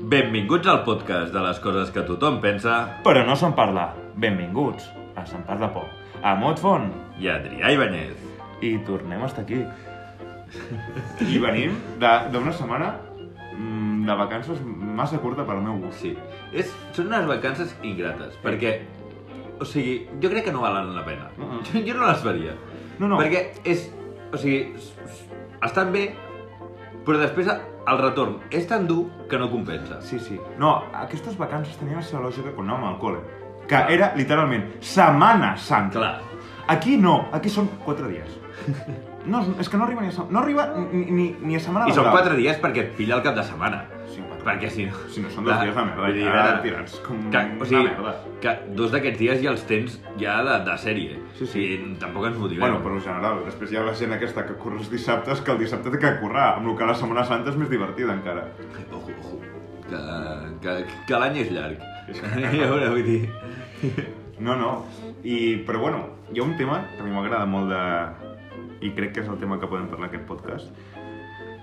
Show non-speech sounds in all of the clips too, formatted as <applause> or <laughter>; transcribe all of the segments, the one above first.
Benvinguts al podcast de les coses que tothom pensa Però no se'n parla. Benvinguts a Se'n Parla Poc. A Motfon. i Adrià Ibanez. I tornem a <laughs> estar aquí. I venim de- d'una setmana mm, de vacances massa curta per al meu gust. Sí, és, són unes vacances ingrates, perquè, o sigui, jo crec que no valen la pena. Mm. <laughs> Jo, jo no les faria. No, no. Perquè és, o sigui, s- s- estan bé, però després el retorn és tan dur que no compensa. Sí, sí. No, aquestes vacances tenien la seva lògica quan anàvem al col·le. Que era, literalment, Setmana Santa. Clar. Aquí no, aquí són quatre dies. No, és que no arriba ni a, se- no arriba ni, ni, ni a setmana I són laboral. quatre dies perquè et pilla el cap de setmana. Sí, quatre. Perquè si no... Si no, són dos Clar, dies de merda. vull dir, Ara ara- tirats com Que, o sigui, una merda. que dos d'aquests dies ja els tens ja de, de sèrie. Sí, sí. I tampoc ens motivem. Bueno, però en general, després hi ha la gent aquesta que corre els dissabtes, que el dissabte té que currar, amb el que la Setmana Santa és més divertida encara. Ojo, ojo. Oh, Que, que, que l'any és llarg. <laughs> És A que- veure, vull dir... No, no. I, però bueno, hi ha un tema que a mi m'agrada molt de... I crec que és el tema que podem parlar en aquest podcast.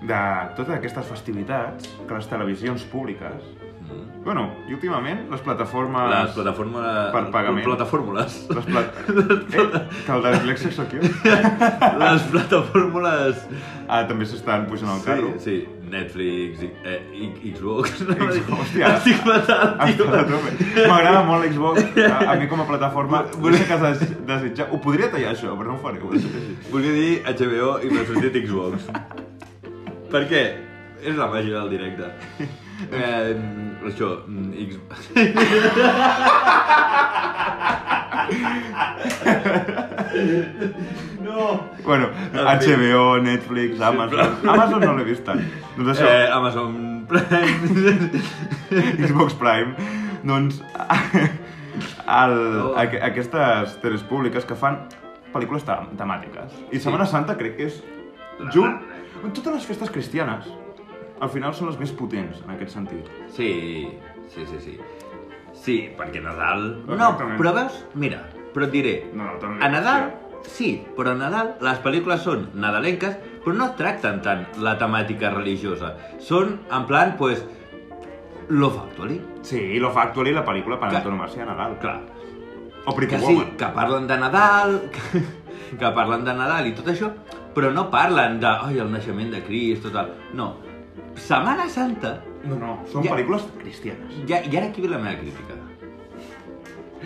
De totes aquestes festivitats que les televisions públiques... Mm. Bueno, i últimament les plataformes... Les plataformes... Ah, Per pagament. Plataformules. Les <laughs> plat... eh, que el deslexia sóc jo. <laughs> Les plataformules... Ah, també s'estan pujant al carro. Sí, sí. Netflix, i- eh, i- Xbox... hòstia. <laughs> Estic fatal, tio. Estava a tope. M'agrada molt l'Xbox, a, a mi com a plataforma, no sé què has des- desitjat. Ho podria tallar això, però no ho faré. Ho deixaré així. Volia dir HBO i m'ha sortit Xbox. per què? És la màgia del directe. Eh, això, mm, X... no! Bueno, HBO, Netflix, Amazon... Amazon no l'he vist tant. Doncs això, Eh, Amazon Prime... Eh. Xbox Prime, doncs... El, Oh. aqu aquestes teles públiques que fan pel·lícules te- temàtiques. I Setmana Santa crec que és... Junt... Totes les festes cristianes, al final són les més potents, en aquest sentit. sí, sí, sí, sí. Sí, perquè Nadal... No, Exactament. però veus? Mira, però et diré, No, no, també... A Nadal, sí, però a Nadal les pel·lícules són nadalenques, però no tracten tant la temàtica religiosa. Són, en plan, pues, lo factually. Sí, lo factual i la pel·lícula per Que- antonomàsia de Nadal. Clar, O Pretty que sí, Woman. que parlen de Nadal, <laughs> que, que parlen de Nadal i tot això, però no parlen de, ai, el naixement de Crist, tot el... No, Setmana Santa, No, no, són Ja- pel·lícules cristianes. ja, i ara aquí ve la meva crítica.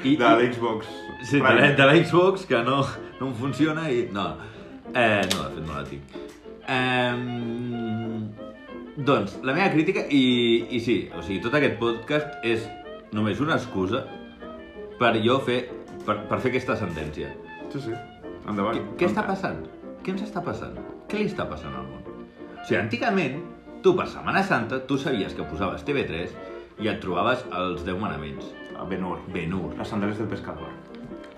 I, De l'Xbox. Sí, de, Prime. la- de la Xbox, que no, no em funciona i... No, eh, no, de fet no la tinc. Eh, doncs, la meva crítica, i, i sí, o sigui, tot aquest podcast és només una excusa per jo fer, per, per fer aquesta sentència. Sí, sí. Endavant. Què, què està passant? Què ens està passant? Què li està passant al món? O sigui, antigament, tu per Setmana Santa, tu sabies que posaves TV3 i et trobaves els 10 manaments. A Ah, Ben-Hur. Ben-Hur. Les sandales del pescador.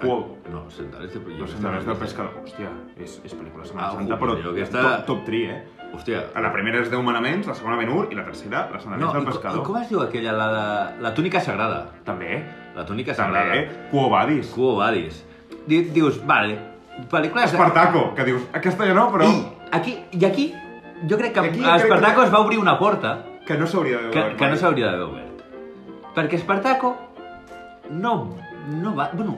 Wow. No, Sendales de... jo Les sandales del pescador. Hòstia, és, és pel·lícula Ah, Setmana Santa, jo però aquesta- top, top 3, eh? Hòstia, La primera és 10 manaments, la segona Ben-Hur i la tercera, les sandales No, i, co- del i pescador. com es diu aquella, la, la, la túnica sagrada? També, La túnica també, sagrada. eh? Quo Vadis. Quo Vadis. Di, dius, vale, pel·lícules... Espartaco, que dius, aquesta ja no, però... I aquí, I aquí, jo crec que I aquí aquí, crec que- Espartaco es va obrir una porta Que no s'hauria de que, veure que no mai. s'hauria d'haver obert. Perquè Espartaco no, no va... Bueno,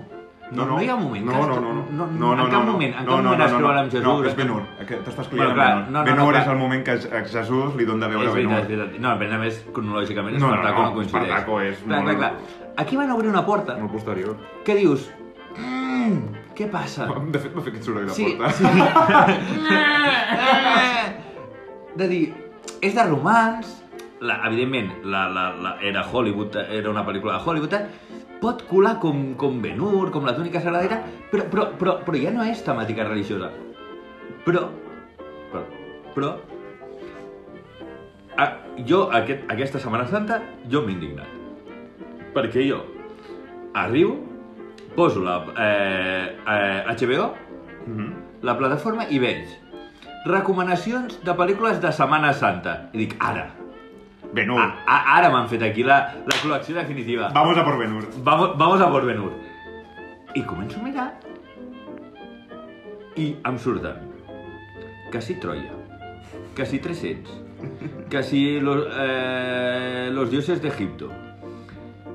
no, no, hi ha un moment no, que es- no, no, no, no, en cap moment, en cap moment es troben amb Jesús. No, és en cap- Ben-Hur, aquest- t'estàs Bueno, client clar, no, amb no, Ben-Hur. Ben-Hur no, és clar. el moment que a Jesús li dona de veure És veritat, és Ben-Hur. veritat. No, però a més, cronològicament, No, no, Espartaco no, no, coincideix. Espartaco és clar, molt- clar, clar. Aquí van obrir una porta Molt <laughs> posterior. que dius... Mm, què passa? De fet, m'ha fet aquest soroll de Sí, porta. sí. <laughs> de dir, és de romans, la, evidentment, la, la, la, era Hollywood, era una pel·lícula de Hollywood, tal, pot colar com, com ben Hur, com la túnica sagrada, i tal, però, però, però, però ja no és temàtica religiosa. Però, però, però a, jo aquest, aquesta Setmana Santa jo m'he indignat. Perquè jo arribo, poso la eh, eh, HBO, Mhm. la plataforma i veig recomanacions de pel·lícules de Setmana Santa. I dic, ara, Ben-Hur. a, a, ara m'han fet aquí la, la col·lecció definitiva. Vamos a por Ben-Hur. Vamos, vamos a por ben -Hur. I començo a mirar i em surten que si Troia, que si 300, que si los, eh, los dioses de Egipto,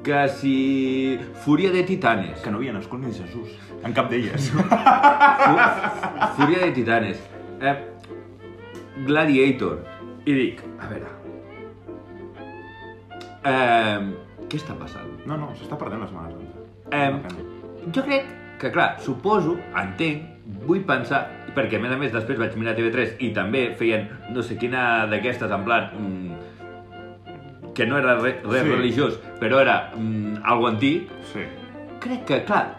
que si Fúria de Titanes, Que no havia nascut ni Jesús, en cap <laughs> d'elles. Fu- Fúria de Titanes, eh, Gladiator, i dic, a veure, eh, què està passant? No, no, s'està perdent doncs. la Setmana Santa. Em, Jo crec que, clar, suposo, entenc, vull pensar, perquè a més a més després vaig mirar TV3 i també feien no sé quina d'aquestes en plan... Mm, que no era re- res Sí. religiós, però era mm, algo antic, Sí. crec que, clar,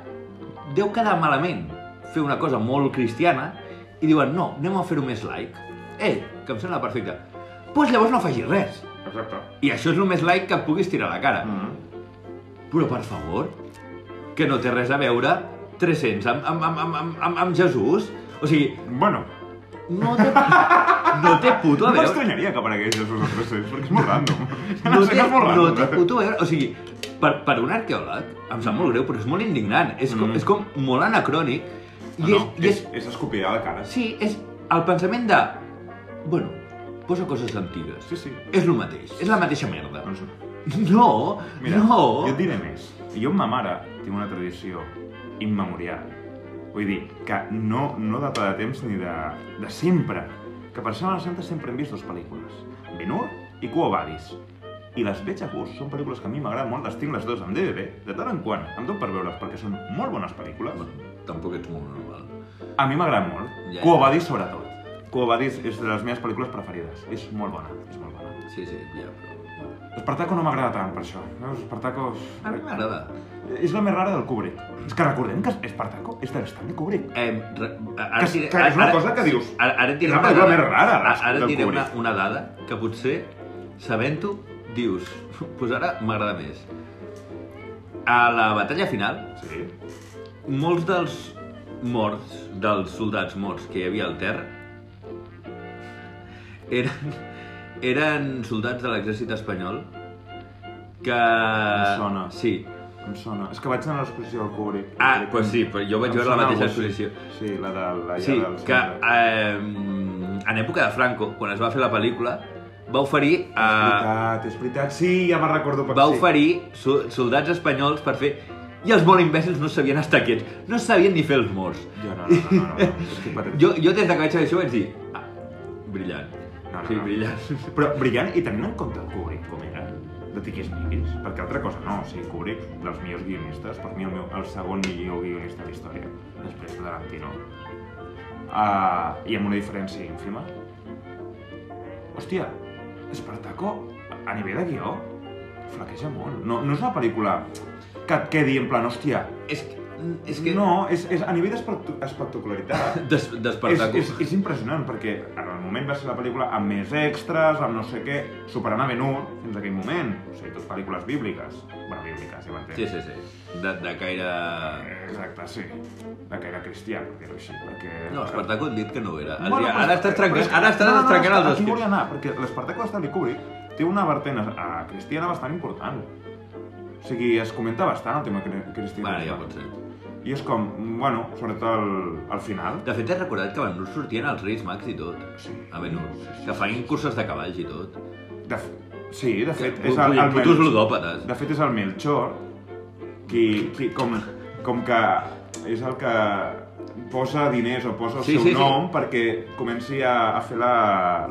deu quedar malament fer una cosa molt cristiana i diuen, no, anem a fer-ho més laic. Ei, que em sembla perfecte. Doncs pues llavors no facis res. Exacte. I això és el més laic que et puguis tirar a la cara. Mm. Però per favor, que no té res a veure 300 amb, amb, amb, amb, amb, amb, amb Jesús. O sigui, Bueno, no té, <laughs> no té puto a no veure. m'estranyaria que aparegués Jesús al procés, perquè és molt random. No <laughs> sé té, que és molt no random. eh? té puto a veure. O sigui, per, per un arqueòleg em sap molt greu, però és molt indignant. És com, Mm. és com molt anacrònic. I, No, no, és, i és, és, és escopir a la cara. sí, és el pensament de... Bueno, posa coses antigues. Sí, sí. És el mateix, és la mateixa <laughs> merda. Doncs, No, mira, no. jo et diré més. Jo amb ma mare tinc una tradició immemorial. Vull dir, que no, no data de temps ni de, de sempre. Que per Setmana Santa sempre hem vist dues pel·lícules. Ben-Hur i Quo Vadis. I les veig a gust, són pel·lícules que a mi m'agraden molt, les tinc les dues en DVD, de tant en quant, em dono per veure-les perquè són molt bones pel·lícules. Tampoc ets molt normal. A mi m'agrada molt. Ja, Quo ja. Vadis sobretot. Quo Vadis és de les meves pel·lícules preferides. És molt bona, és molt bona. Sí, sí, ja, però... Espartaco no m'agrada tant per això. Veus, Espartaco... és- A mi m'agrada. És la més rara del Kubrick. És que recordem que Espartaco és de Stanley Kubrick. Eh, re- ara Que és- diré- que és una ara- cosa que dius, Ara, ara et diré és la una pel·lícula dada. més rara Ara, del ara et diré una, Kubrick. una dada que potser, sabent-ho, dius, <laughs> doncs ara m'agrada més. A la batalla final, Sí. molts dels morts, dels soldats morts que hi havia al terra, eren, eren soldats de l'exèrcit espanyol que... Em sona. Sí. Em sona. És que vaig anar a l'exposició del Kubrick. Ah, doncs pues sí, però jo vaig Em veure la sona mateixa algú, sí. exposició. Sí, la de la Sí, del que eh, en època de Franco, quan es va fer la pel·lícula, va oferir, eh, veritat, és veritat. Sí, ja me'n recordo per va sí. oferir so- soldats espanyols per fer... I els molt imbècils no sabien estar quiets, no sabien ni fer els morts. Jo no, no, no, no, no. no. Estic patètic. Jo, jo des de que vaig saber això vaig dir, ah, brillant. No, no, sí, no. brillant. Però brillant i tenint en compte el Kubrick com era, de tiquis miquis, perquè altra cosa no, o sigui, Kubrick, dels millors guionistes, per mi el, meu, el segon millor guionista de la història, després de Tarantino. Ah, I amb una diferència ínfima. Hòstia, Espartaco, a nivell de guió, flaqueja molt. No, no és una pel·lícula que et quedi en plan, hòstia, És, que- és que... no, és, és a nivell d'espectu- d'espectacularitat Des, és, D'Espartaco. és, és impressionant perquè en el moment va ser la pel·lícula amb més extras, amb no sé què, superant a Ben-Hur fins aquell moment. O sigui, tot pel·lícules bíbliques. Bueno, bíbliques, ja m'entens. Sí, sí, sí. De, de caire... Exacte, sí. De que era cristià, per dir-ho així, perquè... No, Espartaco han dit que no era. Bueno, Adrià, però- ara estàs però és trencant, que- ara estàs no, no, no, trencant és que els Aquí esquils. volia anar, perquè l'Espartaco de Stanley Kubrick té una vertent a cristiana bastant important. O sigui, es comenta bastant el tema cri- cristianisme. Vale, ja pot ser. I és com, bueno, sobretot al, al final. De fet, he recordat que abans no sortien els Reis Mags i tot. Sí. A menú. Que feien curses de cavalls i tot. De f... Sí, de fet, és el, Vull dir, el Putos Melchor- ludòpates. De fet, és el Melchor qui, qui com, com que és el que posa diners o posa el Sí, seu sí, sí. nom perquè comenci a, a fer la,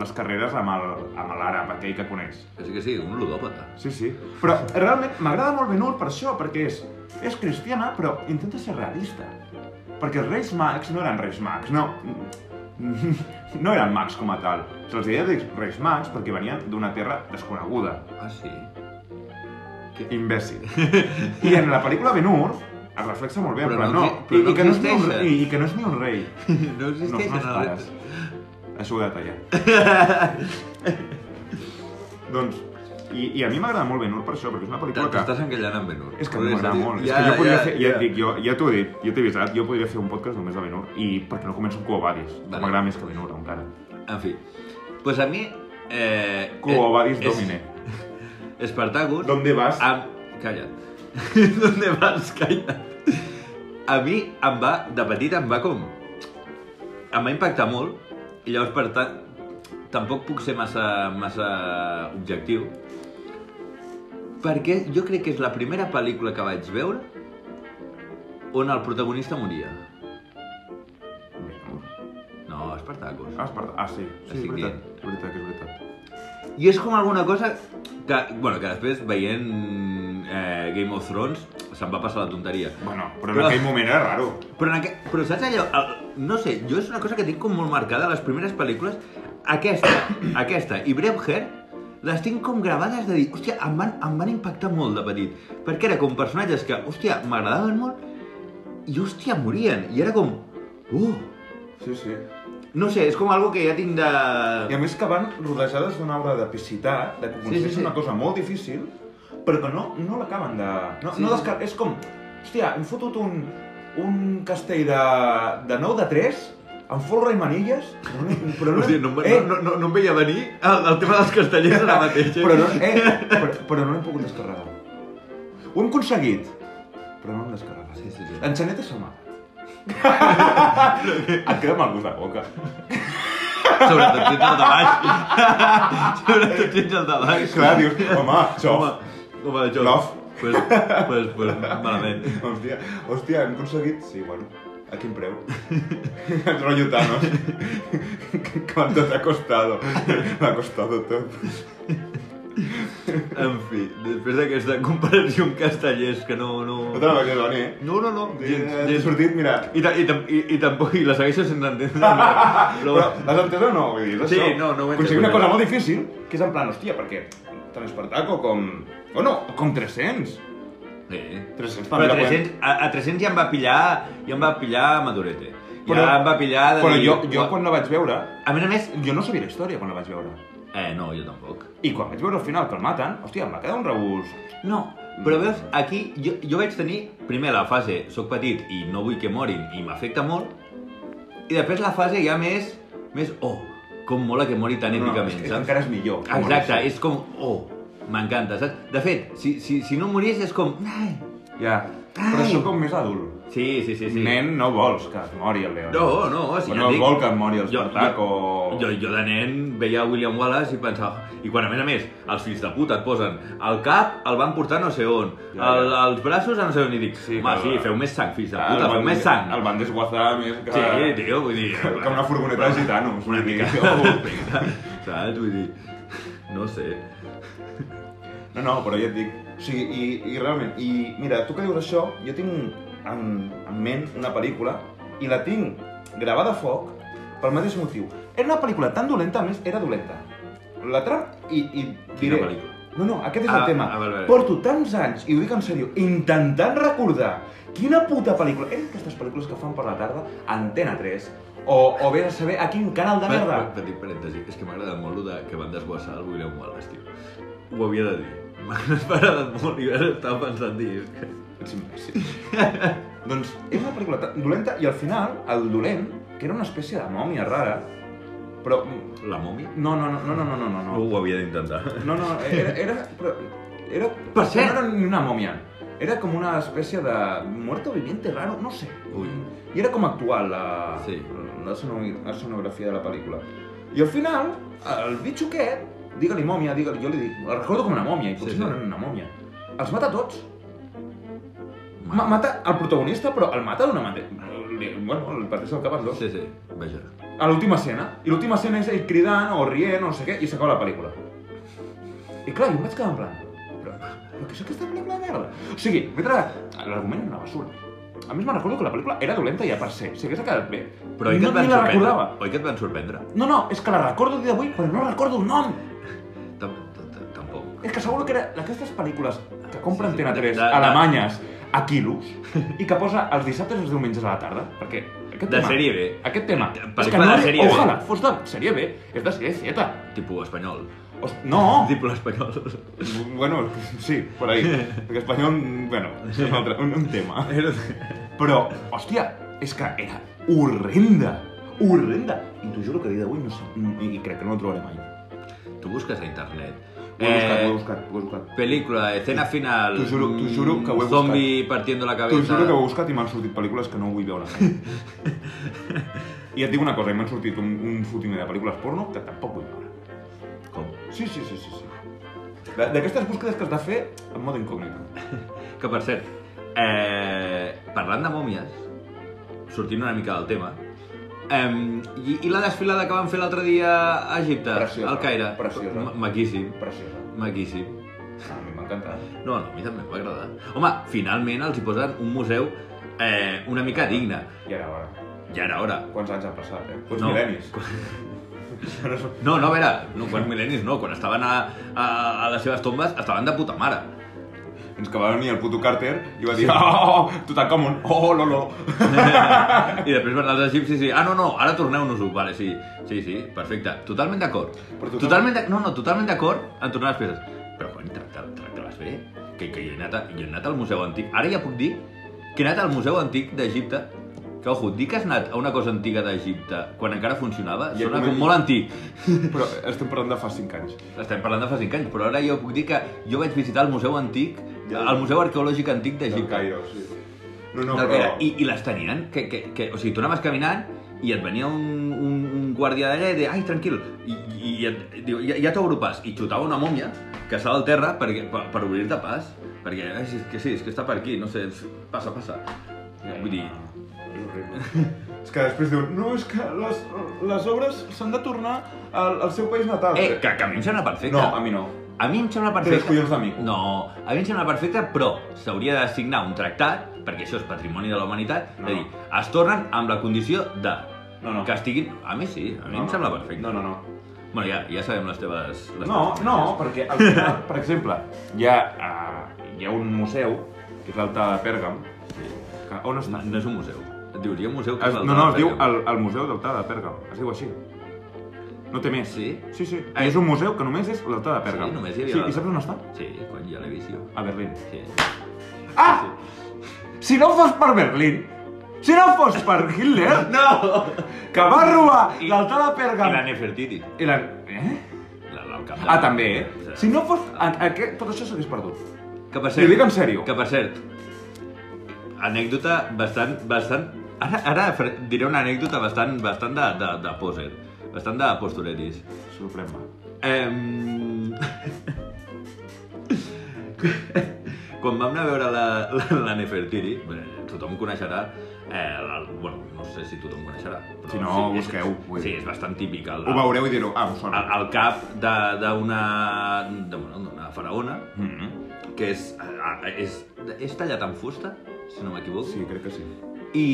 les carreres amb el, amb l'àrab aquell que coneix. Que sí que sí, un ludòpata. Sí, sí. Però realment m'agrada molt Benur per això, perquè és, és cristiana però intenta ser realista. Perquè els Reis Mags no eren Reis Mags, no. <laughs> No eren mags com a tal. Se'ls deia Reis Mags perquè venien d'una terra desconeguda. Ah, sí? <laughs> imbècil. I en la pel·lícula Ben-Hur es reflexa molt bé, Però en plan, no no, exi- però i, no i, que no és ni un, existeixen. i, i que no és ni un rei, <laughs> No no els existeixen meus els pares. Reis- Això ho he de tallar. <laughs> doncs, i, i a mi m'agrada molt Ben-Hur per això, perquè és una T- pel·lícula que... T'estàs enganyant amb Benur. És que a mi m'agrada molt. és que jo podria fer, ja, et dic, jo, ja t'ho he dit, jo t'he avisat, jo podria fer un podcast només de Ben-Hur, i perquè no començo amb Cuobadis, que Vale. m'agrada més que Ben-Hur, encara. En fi. Pues a mi... Eh, Cuobadis eh, domine. Es, Espartagus... ¿Dónde vas? Am... Calla't. <laughs> ¿Dónde vas? Calla't. A mi em va, de petit, em va com... Em va impactar molt. I llavors, per tant, tampoc puc ser massa, massa objectiu, perquè jo crec que és la primera pel·lícula que vaig veure on el protagonista moria. No, Espartacus. Ah, Esparta... ah, sí, sí, és Estic veritat. dient. És veritat, que és veritat. I és com alguna cosa que, bueno, que després veient eh, Game of Thrones se'm va passar la tonteria. Bueno, però en Però- aquell moment era raro. Però, en aqu... però saps allò? El... No sé, jo és una cosa que tinc com molt marcada a les primeres pel·lícules. Aquesta, <coughs> aquesta i Braveheart les tinc com gravades de dir, hòstia, em van, em van impactar molt de petit. Perquè era com personatges que, hòstia, m'agradaven molt i, hòstia, morien. I era com, uh, Sí, sí. no sé, és com algo que ja tinc de... I a més que van rodejades d'una aura d'epicitat, de que Sí, aconsegueix sí, sí. una cosa molt difícil, però que no, no l'acaben de... No, Sí, no sí. descar... És com, hòstia, hem fotut un, un castell de, de 9 de 3, amb folre i manilles, però <laughs> no... Però no, eh, no, no, no em veia venir el, el tema dels castellers ara mateix. però no, eh, però, però no l'hem pogut descarregar. Ho hem aconseguit, però no l'hem descarregat. Sí, sí, sí. L'enxaneta se m'ha. <laughs> Et queda mal gust de boca. Sobretot si ets el de baix. <laughs> Sobretot si ets el de baix. Clar, dius, home, això... Home, home, jo... Xof. Pues, pues, pues, malament. Hòstia, hòstia, hem aconseguit... Sí, bueno, a quin preu? El rotllo Thanos. Quanto t'ha costado? M'ha costado tot. En fi, després d'aquesta comparació amb castellers, que no... No, No te la vaig adonar, eh? no, no, no gens, T'he gens. sortit, mira... I, ta- i, tam- i, i tampoc, i la segueixo sense <laughs> entendre. Però, Però l'has entès o no? Vull dir, és Sí, això. no, no ho he entès, Aconseguir una però- cosa molt difícil, que és en plan, hòstia, perquè tant Espartaco com... O no, com 300. Sí. 300 Però també a la podem- 300, a, a 300 ja em va pillar, ja em va pillar Madurete. Ja Però- em va pillar de Però dir, jo, jo "Ua". quan la vaig veure, A més a més... jo no sabia la història quan la vaig veure. Eh, no, jo tampoc. I quan vaig veure al final que el maten, hòstia, em va quedar un regust. No, però veus, aquí jo, jo vaig tenir primer la fase soc petit i no vull que morin i m'afecta molt i després la fase ja més, més oh, com mola que mori tan èpicament, és, que saps? encara és millor. que Exacte, morir-se. és com, oh, m'encanta, saps? De fet, si, si, si no morís és com... Ai. Ja, però Ai. sóc com més adult. Sí, sí, sí, sí. Nen no vols que es mori el León. No, no, si ja Però no dic- vol que es mori el Jo- Espartaco. Jo, jo de nen veia William Wallace i pensava... I quan, a més a més, els fills de puta et posen el cap, el van portar no sé on, Ja, ja. el, els braços a no sé on, i dic, sí, Sí, home, que- sí, feu més sang, fills de Ah, el puta, van- feu més sang. El van desguazzar més que... Sí, tio, vull <laughs> dir... que una furgoneta de gitanos. Una mica. <laughs> Saps? Vull dir... No sé. No, no, però ja et dic. O sigui, i, i realment, i mira, tu que dius això, jo tinc en, en ment una pel·lícula i la tinc gravada a foc pel mateix motiu. Era una pel·lícula tan dolenta, a més, era dolenta. La trama i, i Quina pel·lícula? No, no, aquest és Ah, el tema. ah, vale, vale. Porto tants anys, i ho dic en sèrio, intentant recordar quina puta pel·lícula... Eren aquestes pel·lícules que fan per la tarda a Antena 3 o, o vés a saber a quin canal de Per- merda. per- Petit parèntesi, és que m'ha agradat molt lo de que van desguassar el William Wallace, tio. Ho havia de dir. <laughs> M'ha agradat molt i ara estava pensant dir... és que- Ets imbècil. <laughs> doncs és una pel·lícula tan dolenta i al final, el dolent, que era una espècie de mòmia rara, però... mm, La mòmia? No, no, no, no, no, no, no, no. Ho havia d'intentar. No, no, era... era, però, era Per cert! No era ni una mòmia. Era com una espècie de muerto viviente raro, no sé. Ui. I era com actual la, Sí. la, sono- la sonografia de la pel·lícula. I al final, el bitxo aquest, digue-li mòmia, digue jo li dic, el recordo com una mòmia, i potser Sí, sí. no era una mòmia. Els mata a tots. Ma mata el protagonista, però el mata d'una manera... li- Mm, Bueno, el parteix el cap en dos. Sí, sí, vaja. A l'última escena. I l'última escena és ell cridant o rient o no sé què, i s'acaba la pel·lícula. I clar, jo em vaig quedar en plan... ah, Però, però què és aquesta pel·lícula de merda? O sigui, mentre l'argument era una basura. A més, me'n recordo que la pel·lícula era dolenta ja per ser. Si hagués quedat bé, Però oi que no et van ni la sorprendre? recordava. Oi que et van sorprendre? No, no, és que la recordo a dia d'avui, però no recordo el nom. Tam- t- t- Tampoc. És que segur que era d'aquestes pel·lícules que compren Sí, sí, Antena de- 3 de- de- alemanyes a quilos i que posa els dissabtes i els diumenges a la tarda, perquè aquest De tema... sèrie B. Aquest tema. De- és que pel·lícula no, de sèrie B. ojalà, fos de sèrie B, és de sèrie Z. Tipo espanyol. Host, no! Tipo espanyol. Bueno, sí, por ahí. Perquè espanyol, bueno, és un, altre, un, un tema. Però, hòstia, és que era horrenda. Horrenda. I t'ho juro que a dia d'avui no sé, i crec que no ho trobaré mai. Tu busques a internet Ho he buscat, Eh, ho he buscat, ho he buscat. Película, escena final. T'ho juro- t'ho juro que ho he buscat. Zombi partiendo la T'ho cabeza. juro que ho he buscat i m'han sortit pel·lícules que no vull veure. <laughs> I et dic una cosa, i m'han sortit un, un fotimer de pel·lícules porno que tampoc vull veure. Com? Sí, sí, sí, sí. sí. D- D'aquestes búsquedes que has de fer en mode incògnito. Que per cert, eh, parlant de mòmies, sortint una mica del tema, eh, i, i la desfilada que van fer l'altre dia a Egipte, Preciosa, al Caire, preciosa. Ma- maquíssim, Preciosa. maquíssim. eh? A mi m'encanta. No, no, a mi també em va agradar. Home, finalment els hi posen un museu eh, una mica digne. I ara, ara. Ja era hora. Quants anys han passat, eh? Quants No. no. <laughs> mil·lennis. No, no, a veure, no, quan mil·lennis no, quan estaven a, a, a les seves tombes estaven de puta mare. Fins que va venir el puto Carter i va dir oh, oh, oh, Tutankamon, oh, oh, lolo. I després van anar els egipcis i... Ah, no, no, ara torneu-nos-ho. Vale, sí, sí, sí, perfecte. Totalment d'acord. Però tu- Totalment d'ac- No, no, totalment d'acord en tornar les peces. Però, cony, tracta- tracta-les bé. Que, que jo, he anat a, jo he anat al Museu Antic. Ara ja puc dir que he anat al Museu Antic d'Egipte que, ojo, dir que has anat a una cosa antiga d'Egipte quan encara funcionava, Ja sona comença- com molt antic. <laughs> Però estem parlant de fa 5 anys. Estem parlant de fa 5 anys, però ara jo puc dir que jo vaig visitar el Museu Antic, Ja. el Museu Arqueològic Antic Del d'Egipte. Cairo, sí. No, no, Del que però... era. I, I les tenien, que, que, que, o sigui, tu anaves caminant i et venia un, un, un guàrdia d'allà i deia, ai, tranquil, i, i, i et diu, ja, ja t'obro pas, i xutava una mòmia que estava al terra perquè, per, per obrir-te pas, perquè, ai, sí, és que sí, és que està per aquí, no sé, passa, passa. Vull dir, És horrible. és que després diuen, no, és que les, les obres s'han de tornar al, al seu país natal. eh, que, que a mi em sembla perfecte. No, a mi no. A mi em sembla Tres perfecte. collons de mico. No, a mi em sembla perfecte, però s'hauria de signar un tractat, perquè això és patrimoni de la humanitat, No. de dir, es tornen amb la condició de No, no. que estiguin... A mi sí, a mi em sembla perfecte. No, no, no. Bueno, ja, ja sabem les teves... Les No, teves no, preferències. perquè al final, <laughs> per exemple, hi ha, uh, hi ha un museu, que és l'altar de Pèrgam, que, on està? No, no és un museu. Et diria un museu que Es, és no, no, es diu Altar el, el Museu d'Altar de Pèrgam. Es diu així. No té més. Sí? Sí, sí. Eh, és un museu que només és l'Altar de Pèrgam. Sí, només hi havia Sí, l'altar. i saps on està? de Déu. Sí, cony, ja l'he vist jo. A Berlín. Sí. Ah! Si no fos per Berlín, si no fos per Hitler, No! que va robar I- l'Altar de I la Pèrgam... Nefertiti. I la... Eh? La, la, el cap de- Ah, també, eh? Sí. Si no fos... A, a què, tot això s'hagués perdut. Que per I ho dic en sèrio. Que per cert, anècdota bastant... bastant ara, ara fre- diré una anècdota bastant, bastant de, de, de poser, bastant de posturetis. Sorprèn-me. Em... Quan vam anar a veure la, la, la Nefertiri, bé, tothom coneixerà, eh, la, bueno, no sé si tothom coneixerà. Però Si no, és- busqueu, vull dir. Sí, és bastant típic. El, Ho veureu i direu, ah, us sona. el, el cap de- d'una de, bueno, d'una faraona, Mm. que és, a- a- és, és tallat en fusta, si no m'equivoco, Sí, crec que sí. i,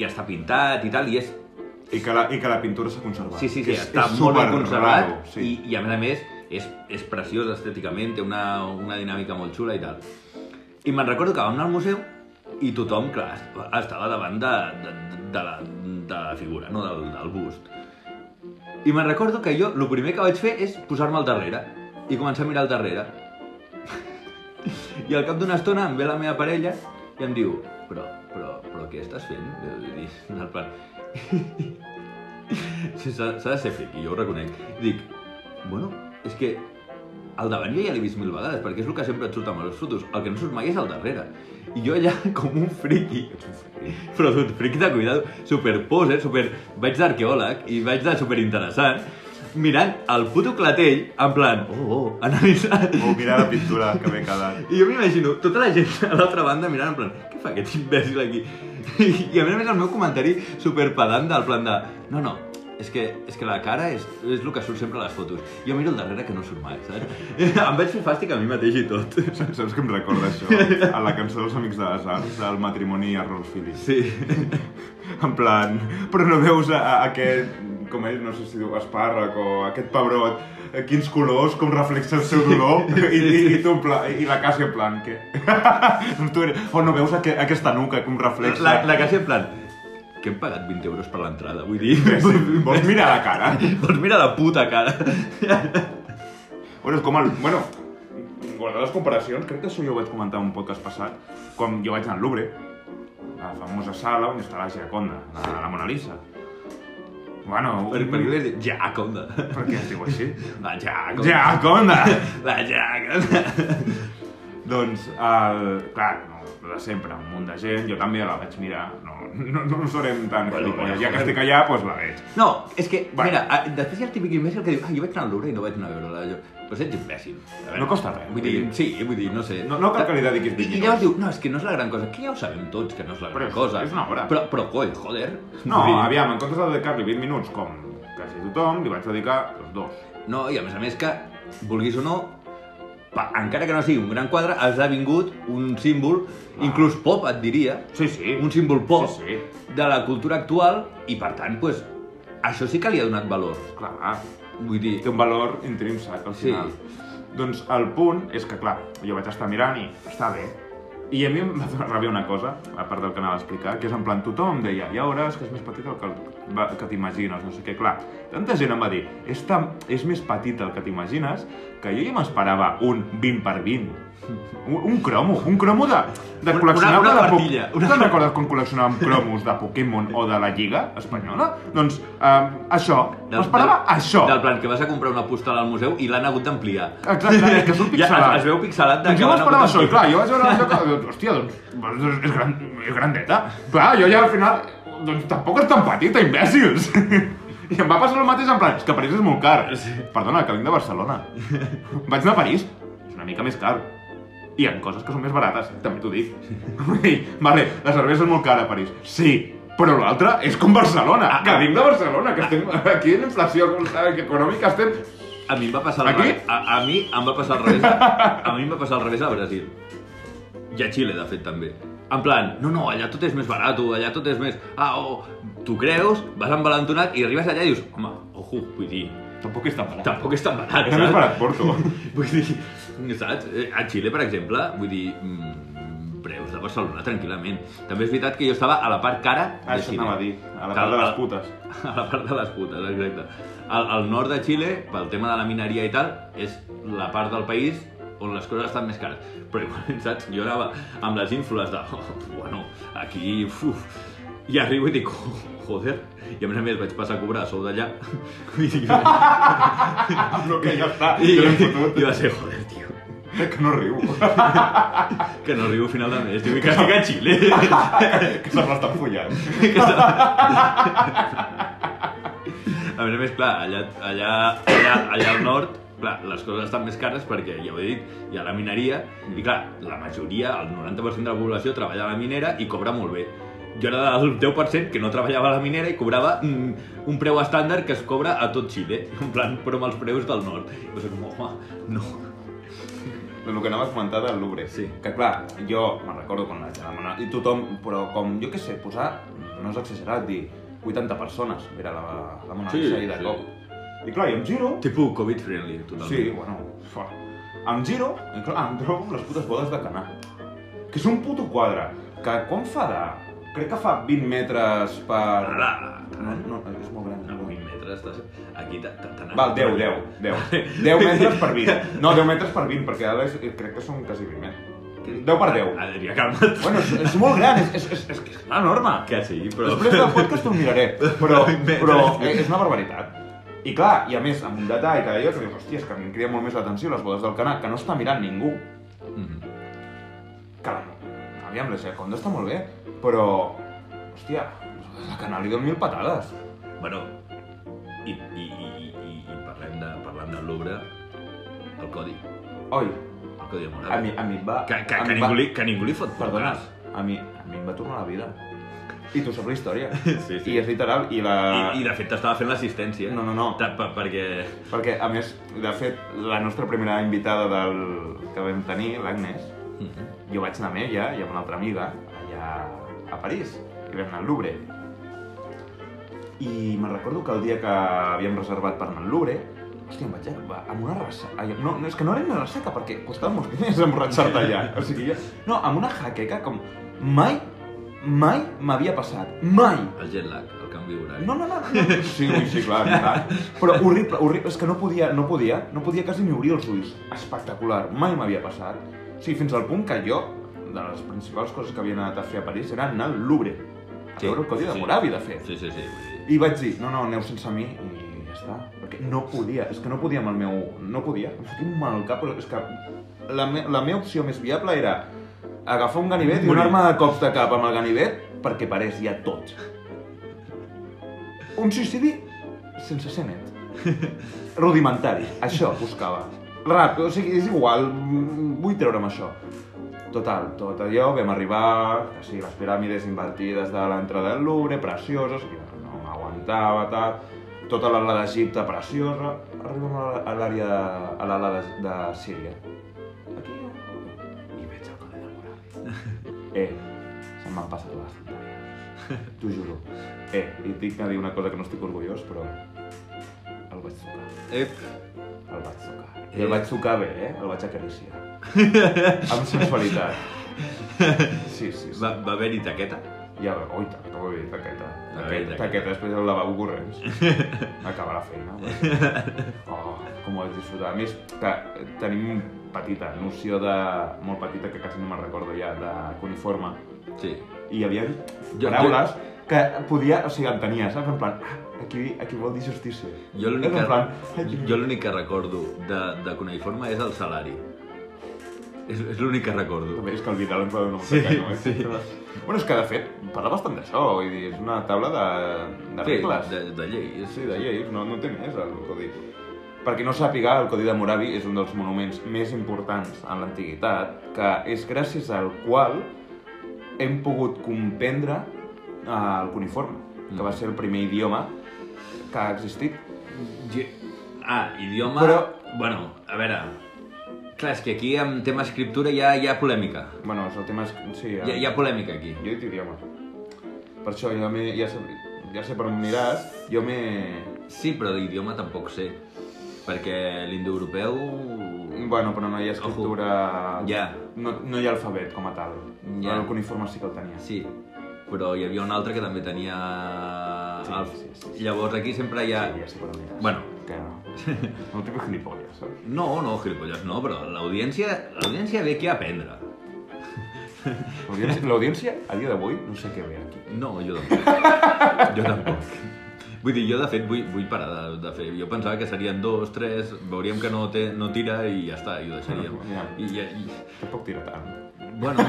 i està pintat i tal, i és... I que la, i que la pintura s'ha conservat. Sí, sí, Que sí, és, està és molt ben superraro, conservat sí. i, i a més a més és, és preciós estèticament, té una, una dinàmica molt xula i tal. I me'n recordo que vam anar al museu i tothom, clar, est- estava davant de, de, de, la, de la figura, no del, del bust. I me'n recordo que jo, el primer que vaig fer és posar-me al darrere i començar a mirar al darrere. <laughs> I al cap d'una estona em ve la meva parella i em diu però, però, però què estàs fent? I dic, en el plan... <laughs> Sí, S'ha s'ha de ser friqui, jo ho reconec. I dic, bueno, és que al davant jo ja l'he vist mil vegades, perquè és el que sempre et surt amb les fotos. El que no surt mai és al darrere. I jo allà, <laughs> com un friqui, però un friqui de cuidado, superposer, super... Vaig d'arqueòleg i vaig de superinteressant, mirant el puto clatell, en plan, oh, oh, analitzant... O mirar la pintura que m'he quedat. I jo m'imagino tota la gent a l'altra banda mirant en plan, què fa aquest imbècil aquí? I, i a més a més el meu comentari super pedant del plan de, no, no, és que, és que la cara és, és el que surt sempre a les fotos. Jo miro el darrere que no surt mai, saps? <laughs> em vaig fer fàstic a mi mateix i tot. Saps saps què em recorda això? A la cançó dels Amics de les Arts, del matrimoni a Rolf Phillips. Sí. En plan, però no veus a, a aquest, com ell, no sé si diu espàrrec o aquest pebrot, eh, quins colors, com reflexa el seu dolor, i, i, i, tu en plan, i la casa en plan, què? <laughs> tu eres, o no veus aqu aquesta nuca com reflexa? La, la casa en plan, que hem pagat 20 euros per l'entrada, vull dir... Sí, vols mirar la cara? <laughs> doncs mira la puta cara. Bueno, és com el... Bueno, guardar les comparacions, crec que això jo ho vaig comentar en un podcast passat, quan jo vaig anar al Louvre, a la famosa sala on està la Gioconda, la, la Mona Lisa. Bueno, Per, per què li vas dir Jaconda? per què es diu així? La Jaconda. <laughs> Jaconda! La Jaconda. doncs, el... clar, no, el de sempre, un munt de gent, jo també la vaig mirar, no, no, no serem tan Bueno, gilipolles. bueno, Ja que joder. estic allà, doncs la veig. No, és que, Bueno. mira, a- després hi ha el típic imbècil que diu, ah, jo vaig anar al Louvre i no vaig anar a veure-la. Jo, Però ets imbècil. A veure, No costa res, Vull vull dir, dir- sí, vull dir, no sé. No- no cal que li dediquis I, vint I llavors minuts. diu, no, és que no és la gran cosa, que ja ho sabem tots, que no és la Però gran és- cosa. és una obra. Però, però coi, joder. No, Vull dir, aviam, en comptes de dedicar-li 20 minuts, com quasi tothom, li vaig dedicar els dos. No, i a més a més que, vulguis o no, pa, encara que no sigui un gran quadre, ha esdevingut un símbol, Clar. inclús pop, et diria, Sí, Ah. sí. un símbol pop Sí, sí. de la cultura actual i, per tant, pues, això sí que li ha donat valor. Clar, Vull dir, té un valor intrínsec al Sí. final. Doncs el punt és que, clar, jo vaig estar mirant i està bé. I a mi em va donar ràbia una cosa, a part del que anava a explicar, que és en plan, tothom em deia, ja veuràs que és més petit el que, va- que t'imagines, no sé què. Clar, tanta gent em va dir, és, tan, és més petit el que t'imagines, que jo ja m'esperava un 20 per 20. Un, un cromo, un cromo de, de Una- col·leccionar... una- una de po- partilla, Tu te'n recordes quan col·leccionàvem cromos de Pokémon o de la Lliga espanyola? Doncs eh, això, m'esperava això. Del plan que vas a comprar una postal al museu i l'han hagut d'ampliar. Exacte, que és <laughs> un Ja, pixelat. es, es veu pixelat de Doncs que jo l'han m'esperava hagut això, i clar, d'ampliar. jo vaig veure allò que... doncs, Hòstia, doncs, doncs és, gran, és grandeta. Clar, jo ja al final... Doncs tampoc és tan petita, imbècils. <laughs> I em va passar el mateix en plan, és que París és molt car. Perdona, que vinc de Barcelona. Vaig anar a París, és una mica més car. I en coses que són més barates, també t'ho dic. <laughs> Vull dir, vale, la cervesa és molt cara a París. Sí, però l'altra és com Barcelona, Ah, que ah. vinc de Barcelona, que estem aquí en inflació econòmica, estem... A mi em va passar al Aquí? revés. A, a mi em va passar al <laughs> revés. A mi em va passar al revés a Brasil. I a Xile, de fet, també. En plan, no, no, allà tot és més barat, allà tot és més... Ah, oh, tu creus, vas envalentonat i arribes allà i dius, home, ojo, vull dir, Tampoc és tan barat. tampoc és tan barat, També és barat Porto. <laughs> Vull dir, saps? Eh, A Xile, per exemple, vull dir, mm, preus de Barcelona tranquil·lament. També és veritat que jo estava a la part cara Ah, de això Xile. anava a dir, a la part de les putes. <laughs> A la part de les putes, exacte. Al, al nord de Xile, pel tema de la mineria i tal, és la part del país on les coses estan més cares. Però igual, <laughs> saps? Jo anava amb les ínfules de... Oh, bueno, aquí... Uf, i arribo i dic, "Jo- joder, i a més a més vaig passar a cobrar a sou d'allà. <laughs> Vull <laughs> dir, Ah, però que ja està, i, que l'hem i, fotut. i va ser, joder, tio, Que no riu, <laughs> que no arribo a final de mes, tio, i que estic a Xile. que se m'estan follant. Que s'ha- a més a més, clar, allà, allà, allà, allà al nord, clar, les coses estan més cares perquè, ja ho he dit, hi ha la mineria i, clar, la majoria, el 90% de la població treballa a la minera i cobra molt bé. Jo era del 10% que no treballava a la minera i cobrava mm, un preu estàndard que es cobra a tot Xile, <laughs> en plan, però amb els preus del nord. I va ser com, home, no. El que anaves a comentar del Louvre. Sí. Que clar, jo me'n recordo quan vaig anar i tothom, però com, jo què sé, posar, no és exagerat, dir 80 persones, era la, la Mona Sí, Lisa i de sí. cop. I clar, jo em giro, Tipus Covid-friendly, totalment. sí, bueno, fa. Em giro, i clar, em trobo amb les putes bodes de Canà. Que és un puto quadre, que quan fa de... Crec que fa 20 metres per... Ara, ara, No, no, és molt gran. No, 20 metres, estàs... Aquí t'ha- t'ha- t'ha anat... Val, 10, 10, 10. 10 metres per 20. No, 10 metres per 20, perquè ara és- eh, crec que són quasi 20 metres. 10 per 10. Adrià, calma't. Bueno, és, és molt gran, és, és, és, és, que és una norma. Que sí, però... Després del podcast ho <laughs> miraré, però, Metres. però eh, és una barbaritat. I clar, i a més, amb un detall que deia, que dius, hòstia, és que a mi em crida molt més l'atenció les bodes del canal, que no està mirant ningú. Mhm. Que la... Aviam, la Jaconda està molt bé, però... Hòstia, la canal li dono mil patades. Bueno, i, i, i, i, i, i parlem, de, parlant del Louvre, el codi, Oi, el codi de a moral. mi, a mi em va... Que, que, a mi que, em va- ningú li, que ningú li fot Perdona, portes. a mi, a mi em va tornar la vida. I tu saps la història. Sí, sí. I és literal, i la... I, I de fet t'estava fent l'assistència. No, no, no. Ta- per- perquè... Perquè, a més, de fet, la nostra primera invitada del... que vam tenir, l'Agnès, Mhm. jo vaig anar amb ella i amb una altra amiga allà a París, i vam anar al Louvre. I me'n recordo que el dia que havíem reservat per anar al Louvre, hòstia, em vaig acabar amb una ressaca... No, no, és que no era una ressaca, perquè costava molts diners emborratxar-te allà. O sigui, jo... No, amb una jaqueca com... Mai, mai m'havia passat. Mai! El jet lag, el canvi horari. No, no, no, no. <laughs> Sí, ui, sí, clar, clar. Però horrible, horrible. És que no podia, no podia, no podia quasi ni obrir els ulls. Espectacular, mai m'havia passat. O sigui, fins al punt que jo, de les principals coses que havia anat a fer a París, era anar al Louvre. A Sí, veure el Codi sí, de sí. Moravi, de fet. Sí, sí, sí. vull dir, I vaig dir, no, no, aneu sense mi i ja està. Perquè no podia, és que no podia amb el meu... No podia, em fotia un mal cap, però és que la, me, la meva opció més viable era agafar un ganivet i Morir. donar-me de cops de cap amb el ganivet perquè parés ja tot. Un suïcidi sense ser net. Rudimentari, això buscava. Rap, o sigui, és igual, mm, vull treure'm això. Total, tot allò, vam arribar, que sí, les piràmides invertides de l'entrada del Louvre, precioses, i no m'aguantava, tal, tota l'ala d'Egipte preciosa, arribem a la- a l'àrea de, a l'ala de, de Síria. Aquí, eh? i veig el codi de Morales. Eh, se m'han passat les tonteries. T'ho juro. Eh, i tinc que dir una cosa que no estic orgullós, però el vaig tocar. Ep. El vaig tocar. I Eh. el vaig tocar bé, eh? El vaig acariciar. <laughs> Amb sensualitat. Sí, sí, sí. Va, va haver-hi taqueta? Ja veu, oi, taqueta, oi, taqueta. taqueta. Taqueta, taqueta, després del lavabo corrents. Acabar la feina. <laughs> però- Oh, com ho vaig disfrutar. A més, que tenim petita noció de... Molt petita, que quasi no me'n recordo ja, de cuniforme. Sí. I hi havia Jo- paraules que podia... O sigui, entenia, saps? En plan, ah, aquí, aquí vol dir justícia. Jo l'únic És en plan, que, aquí- jo l'únic que recordo de, de cuneiforme és el salari. És, és l'únic que recordo. També és que el Vidal ens va donar un eh, Sí, pecat, no? sí. Bueno, és que de fet parla bastant d'això, vull dir, és una taula de, de Sí, regles. de, de llei. Sí, de lleis, no, no té més el Codi. Per qui no sàpiga, el Codi de Moravi és un dels monuments més importants en l'antiguitat, que és gràcies al qual hem pogut comprendre eh, el cuniforme, que Mm. va ser el primer idioma que ha existit. Ge- Ah, idioma... Però- Bueno, a veure... Clar, és que aquí amb tema escriptura hi ha, hi ha polèmica. Bueno, és el tema... és- Sí, Hi ha, hi ha polèmica aquí. Jo he dit idioma. Per això jo me, ja, sé, ja sé per on miràs, jo me... Sí, però d'idioma tampoc sé. Perquè l'indoeuropeu... Bueno, però no hi ha escriptura... Ja. No, no hi ha alfabet com a tal. Ja. Ja. El cuniforme sí que el tenia. Sí, però hi havia un altre que també tenia... Sí, el- sí, sí, sí. Llavors aquí sempre hi ha... Sí, ja sé per on miràs. Bueno. Que <laughs> no. No tipus gilipolles, saps? No, no, gilipolles no, però l'audiència l'audiència ve aquí a aprendre. L'audiència- L'audiència, a dia d'avui, no sé què ve aquí. No, jo tampoc. jo tampoc. Vull dir, jo de fet vull, vull parar de, de fer. Jo pensava que serien dos, tres, veuríem que no, té, no tira i ja està, i ho deixaríem. Ja. I, i, i, Tampoc tira tant. bueno...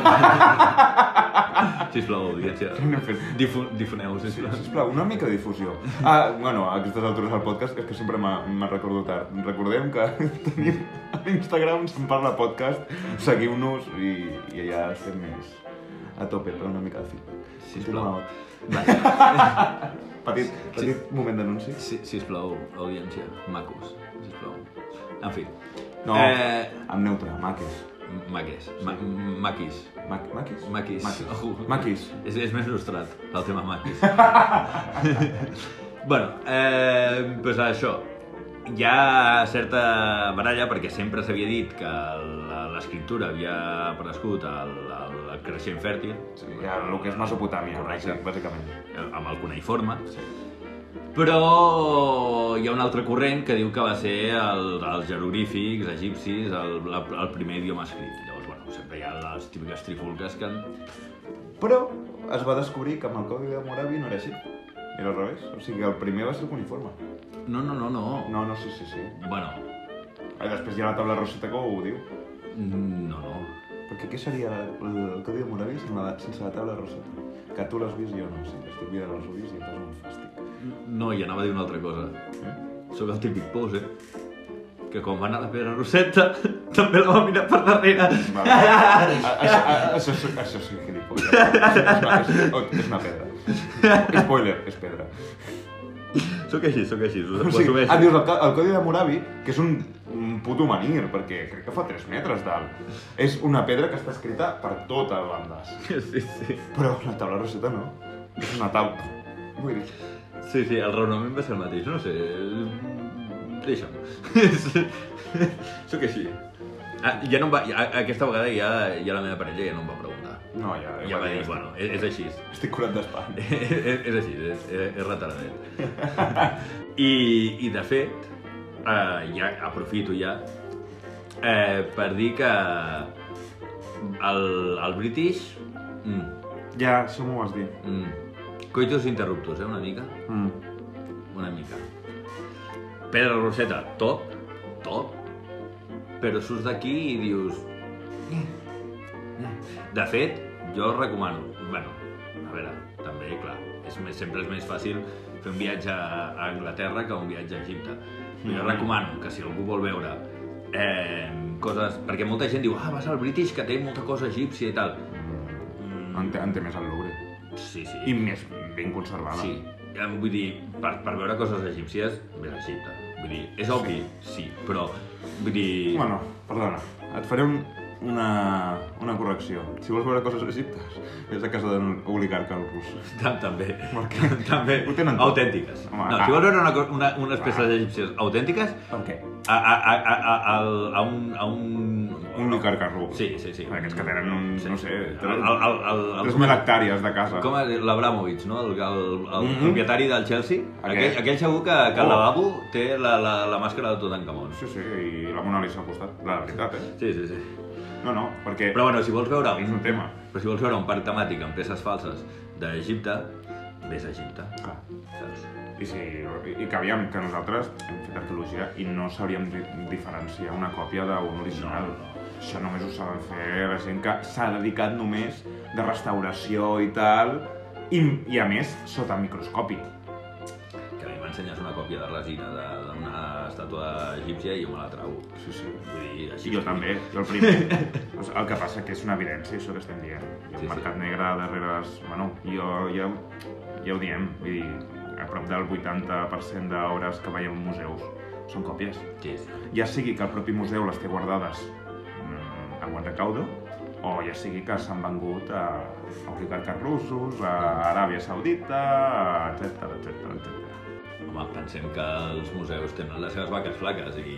sisplau, audiència. No he fet- Difu, difoneu, sisplau. Sisplau, una mica de difusió. Ah, bueno, a aquestes altures del podcast és que sempre m'ha- me'n recordo tard. Recordem que <laughs> tenim a Instagram, se'n parla podcast, seguiu-nos i, i allà estem més a tope, però una mica de feedback. Sisplau. Continueu. Vale. <laughs> Petit, Sí. petit moment d'anunci. Si, sisplau, audiència, macos, sisplau. En fi. No, Eh, amb neutre, maquis. maques, ma, maquis. Ma Maquis. maquis? Oh. Maquis. Ojo. maquis. És, és més il·lustrat, el tema maquis. bueno, eh, doncs això. Hi ha certa baralla perquè sempre s'havia dit que la- l'escriptura havia aparegut al, al, al creixent fèrtil, Sí, ja, el que és Mesopotàmia, Correcte. bàsic- bàsicament. eh, amb el cuneiforme, Sí. Però hi ha un altre corrent que diu que va ser el, els jeroglífics egipcis el, la, el primer idioma escrit. Llavors, bueno, sempre hi ha les típiques trifulques que... en- Però es va descobrir que amb el codi de Moravi no era així. Era al revés. O sigui, el primer va ser el cuniforme. No, no, no, no. No, no, sí, sí, sí. Bueno, Ah, després hi ha la taula Rosetta que ho diu. mm, no, no. Perquè què seria el, el Codi de Moravi sense la, sense la taula Rosetta? Que tu l'has vist i jo no, sí, estic mirant els ulls i em posa un fàstic. No, i anava a dir una altra cosa. Sóc el típic pose que quan va anar la Pedra Rosetta <laughs> també la va mirar per darrere. Va, a- això, a- això, és- això sí que li puc dir. És una- és- oh, És una pedra. Spoiler, és pedra. <laughs> Sóc així, sóc així, ho, O ho sigui, assumeixo. ah, dius, el, co- el Codi de Moravi, que és un, un puto menhir, perquè crec que fa 3 metres d'alt. És una pedra que està escrita per tota totes bandes. Sí, sí. Però la taula Rosetta no. És una taula. Vull dir, Sí, sí, el raonament va ser el mateix, no sé... Deixa'm. <laughs> Sóc així. Ah, ja no em va, ja, aquesta vegada ja, ja la meva parella ja no em va preguntar. no, ja, Ja va dir, estic- bueno, és, és així. Estic curat d'espant. és, <laughs> és així, és, és retardat. <laughs> I, I de fet, eh, ja aprofito ja eh, per dir que el, el British... Mm, Ja, això m'ho vas dir. Mm. Coitus interruptus, eh, una mica. Mm. Una mica. Pedra Roseta, top, top. Però surts d'aquí i dius... "Mm, De fet, jo recomano... bueno, a veure, també, clar, és més, sempre és més fàcil fer un viatge a a Anglaterra que un viatge a Egipte. Però jo Mm. recomano que si algú vol veure eh, coses... Perquè molta gent diu, ah, vas al British que té molta cosa egípcia i tal. Mm, En, té, en té més el Louvre. Sí, sí. I més ben conservada. Sí, em- eh, vull dir, per, per veure coses egípcies, ves a Egipte. Vull dir, és obvi, sí, però vull dir... Bueno, perdona, et faré un, una, una correcció. Si vols veure coses egiptes, és a casa d'un oligarca al rus. <laughs> <laughs> tam- també, Per què? també, Ho tenen tot. autèntiques. Home, no, ah. si vols veure una, co- una, unes Ah. peces egípcies autèntiques, Per què? a, a, a, a, a, al- a, un, a un... Un oligarca rus. Sí, sí, sí. Aquests que tenen un- no sé, El, tenen- el, el, el, el, 3.000 hectàrees de casa. com es diu? l'Abramovich, no? El, el, el Mhm. propietari del Chelsea. Aquell, Aquest. aquell, segur que, que al Oh. lavabo té la, la, la màscara de Tutankamon. Sí, sí, i la Mona Lisa al costat, la veritat, eh? Sí, sí, sí. No, no, perquè Però bueno, si vols veure és un, un tema. però si vols veure un parc temàtic amb peces falses d'Egipte, vés a Egipte, Clar. saps? I, sí, i que aviam, que nosaltres hem fet arqueologia i no sabríem di- diferenciar una còpia d'un original. No, no. Això només ho saben fer la gent que s'ha dedicat només de restauració i tal, i, i a més, sota microscopi. Que a mi m'ensenyes una còpia de resina de- d'una estàtua egípcia i jo me la trago. Sí, sí. Vull dir, així I jo que- també, jo el primer. <laughs> Doncs el que passa que és una evidència, això que estem dient. Hi Sí, ha sí. un mercat negre darrere les... Bueno, jo, ja, ja ho diem, vull dir, a prop del 80% d'obres que veiem en museus són còpies. Sí, sí. ja sigui que el propi museu les té guardades mm, a Guantacaudo, o ja sigui que s'han vengut a a oligarques russos, a Aràbia Saudita, etc etc etc. Home, pensem que els museus tenen les seves vaques flaques i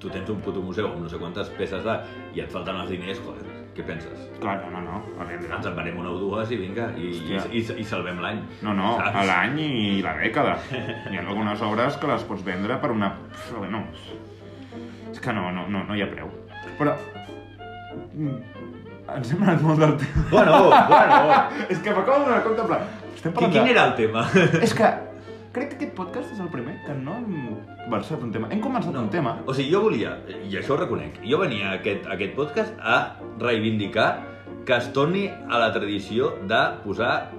tu tens un puto museu amb no sé quantes peces de... i et falten els diners, joder, què penses? Clar, no, no, no, a Ens veure, en venem una o dues i vinga, i, i, Hòstia. i, i salvem l'any. no, no, Saps? a l'any i la dècada. Hi ha algunes obres que les pots vendre per una... pf, No, és que no, no, no, no hi ha preu. Però... mm, Ens hem anat molt del tema. Bueno, <laughs> bueno! És que m'acabo de donar compte, en plan... Estem Qui- parlant Quin de- era el tema? És que crec que aquest podcast és el primer que no hem versat un tema. Hem començat un tema. O sigui, jo volia, i això ho reconec, jo venia a aquest, a aquest podcast a reivindicar que es torni a la tradició de posar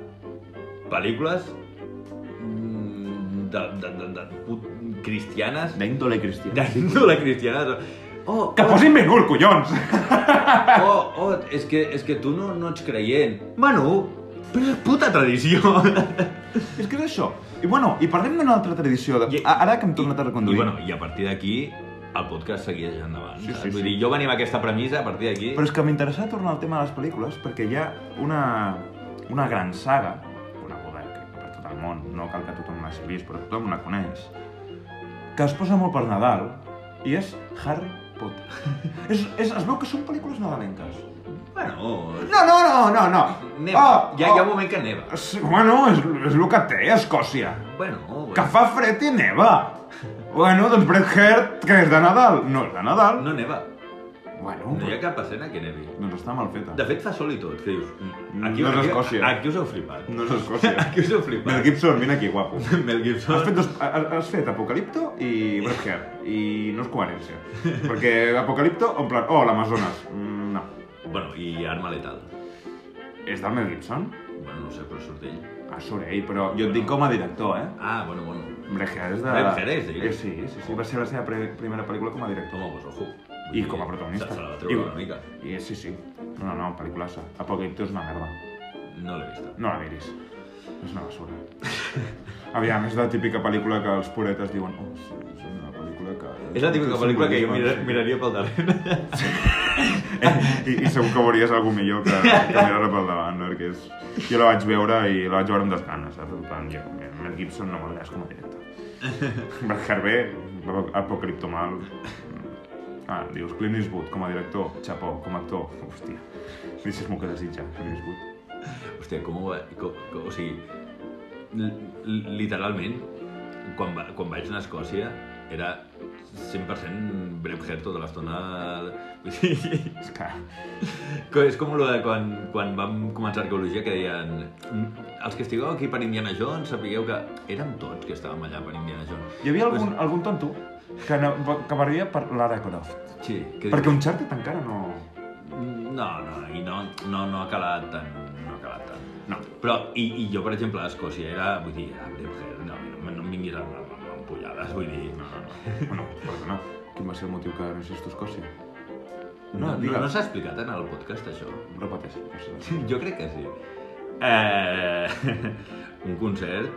pel·lícules mm, de, de, de, de, put- cristianes, <laughs> D'índole cristiana. d'índole cristiana. Oh, Que posin Benur, collons! oh, oh, oh, és que, és que tu no, no ets creient. Manu, però és puta <laughs> tradició. és que és això. I bueno, i parlem d'una altra tradició. De... I- a- Ara que hem tornat a I, reconduir. bueno, I a partir d'aquí el podcast seguia endavant. Sí, saps? sí, Vull sí. dir, jo venia amb aquesta premissa a partir d'aquí. Però és que m'interessava tornar al tema de les pel·lícules perquè hi ha una, una gran saga, coneguda crec que per tot el món, no cal que tothom l'hagi vist, però tothom la coneix, que es posa molt per Nadal i és Harry <laughs> Potter. és, és, es veu que són pel·lícules nadalenques. Bueno, No, no, no, no, no. Neva. Oh, hi, ha, hi ha un oh. moment que neva. Sí, Bueno, és, és el que té Escòcia. Bueno, Que bueno fa fred i neva. Bueno, doncs Bret Hart, que és de Nadal. No és de Nadal. no neva. Bueno, No hi ha però- cap escena que nevi. doncs està mal feta. De fet, fa sol i tot, que dius... mm, Aquí, No és aquí, Escòcia. Aquí us heu flipat. <laughs> No és Escòcia. Aquí us heu <laughs> Mel flipat. Gibson, vine aquí, guapo. Mel Has Gibson. fet, dos, has, has fet Apocalipto i Bret Hart. I no és coherència. Perquè Apocalipto, en plan, oh, l'Amazones. Mm, no. Bueno, i Arma Letal. És del Mel Gibson? Bueno, no sé, però surt ell. Ah, surt ell, però jo et dic com a director, eh? Ah, bueno, bueno. Brejer és de... Eh, Brejer és, digues. Sí, sí, sí, va ser la seva pre primera pel·lícula com a director. Toma, vos, ojo. Vull I dir, com a protagonista. Se se la va treure I- una mica. I eh, sí, sí. No, no, pel·lículassa. Apocalipto és una merda. No l'he vista. No la miris. És <laughs> una basura. Aviam, és la típica pel·lícula que els puretes diuen oh, sí, és una pel·lícula que... És la típica pel·lícula que jo mira- miraria pel darrere. I, I segur que veuries algú millor que, que mirar-la pel davant, perquè és... Jo la vaig veure i la vaig veure amb desganes, saps? En plan, jo, Mel Gibson no m'agrades com a director. Brejer bé, Apocalipto mal. Ah, dius Clint Eastwood com a director, xapó, com a actor, hòstia. Deixes molt que desitja, Clint Eastwood. Hòstia, com ho va... Com, com, o sigui, l- l- literalment, quan, va, quan vaig anar a Escòcia, era 100% Bremher tota l'estona. <laughs> Vull dir, És que... que és com lo de quan, quan vam començar arqueologia que deien "Mm, els que estigueu aquí per Indiana Jones sapigueu que érem tots que estàvem allà per Indiana Jones. Hi havia algun, algun tonto que, no, que m'arribia per Lara Croft. Sí, que "Mm, Perquè un xartet encara no... No, no, i no, no, no ha calat tant, no ha calat tant. No. Però, i, i jo, per exemple, a Escòcia era, vull dir, era Bremher, no, no, no em vinguis amb, amb, amb ampollades, vull dir... No, no, no. Bueno, perdona. Quin va ser el motiu que resistís Escòcia? No, no, digues. no, s'ha explicat en el podcast, això? <laughs> Repeteix. no sé. Jo crec que sí. Eh, <laughs> un concert...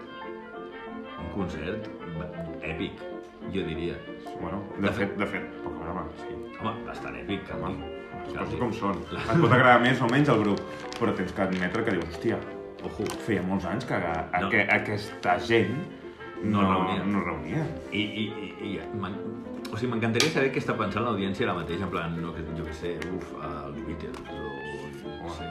Un concert èpic, jo diria. Bueno, de fet, de fet, poca broma, sí. Home, bastant èpic, que Home, home. les Cal coses dir. com són. Et pot agradar més o menys el grup, però tens que admetre que dius, hòstia, Ojo. feia molts anys que a, a, No. que aquesta gent No reunia. No reunia. I, i, i, i m'en- o sigui, m'encantaria saber què està pensant l'audiència ara mateix, en plan, no, que- jo què sé, uf, els Beatles, o... No sé.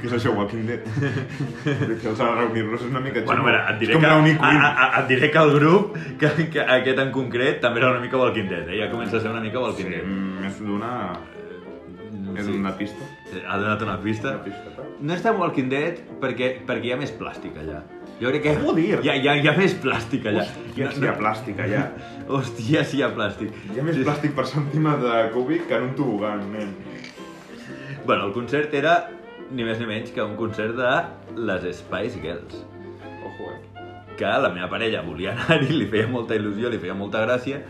Què <laughs> és això, Walking <laughs> Dead? que els ha de reunir-los és una mica Bueno, a xungo. veure, et diré, és com que, reunir a, Queen. a, a, et diré que el grup, <laughs> que, que aquest en concret, també era una mica Walking Dead, eh? ja comença a ser una mica Sí, Walking Dead. mm, és d'una... Eh, És sí. una pista. Ha donat una pista. Una pista, tal. No és tan Walking Dead perquè, perquè hi ha més plàstic allà. Jo crec que Joder! hi ha, hi ha, hi ha més plàstic allà. Hòstia, sí, hi ha plàstica, ja. Hòstia, sí hi ha plàstic. Hi ha més Sí. plàstic per centímetre cúbic que en un tobogan, nen. Bueno, el concert era ni més ni menys que un concert de les Spice Girls. Ojo, eh? que la meva parella volia anar-hi, li feia molta il·lusió, li feia molta gràcia,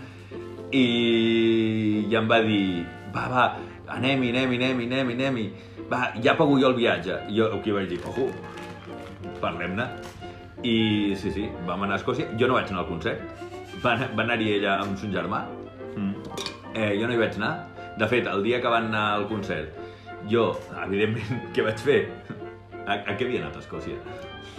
i, i em va dir, va, va, anem-hi, anem-hi, anem-hi, anem-hi, anem-hi, va, ja pago jo el viatge. I jo aquí vaig dir, ojo, parlem-ne. I sí, sí, vam anar a Escòcia, jo no vaig anar al concert, va, anar- va anar-hi ella amb son germà, Mm. Eh, jo no hi vaig anar. De fet, el dia que van anar al concert, jo, evidentment, <laughs> què vaig fer? A, a què havia anat a Escòcia?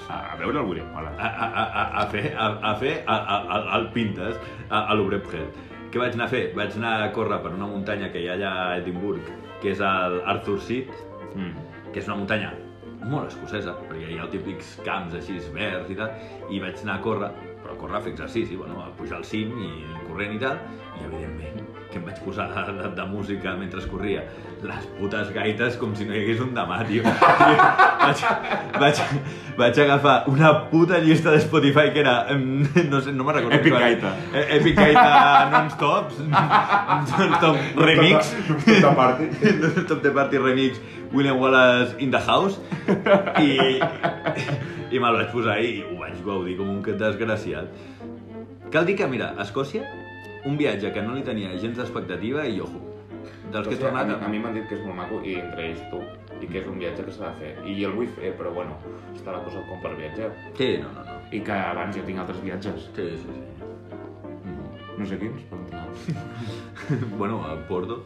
A, a veure el William Wallace. a, a, a- a, a fer, a, a fer a, a, a, al Pintes, a, a l'Obrephead. Què vaig anar a fer? Vaig anar a córrer per una muntanya que hi ha allà a Edimburg, que és el Arthur Seat, Mm. que és una muntanya molt escocesa, perquè hi ha els típics camps així verds i tal, i vaig anar a córrer, però a córrer a fer exercici, bueno, a pujar al cim i corrent i tal, i evidentment que em vaig posar de, de, de música mentre corria les putes gaites com si no hi hagués un demà, <laughs> tio. vaig, vaig, vaig agafar una puta llista de Spotify que era, em, no sé, no me'n recordo. Epic quina era. gaita. Eh, Epic Gaita <laughs> non-stop, non-stop remix. Tota part. <laughs> Top de Party Remix, William Wallace in the House i, i me'l vaig posar i ho vaig gaudir com un desgraciat. Cal dir que, mira, a Escòcia, un viatge que no li tenia gens d'expectativa i ojo, dels que he a mi, tornat... a mi m'han dit que és molt maco i entre ells tu i que és un viatge que s'ha de fer i el vull fer però bueno, està la cosa com per viatge Sí, no, no, no. i que abans jo tinc altres viatges Sí, sí, sí. Mhm. No sé quins, però no. <laughs> Bueno, a Porto.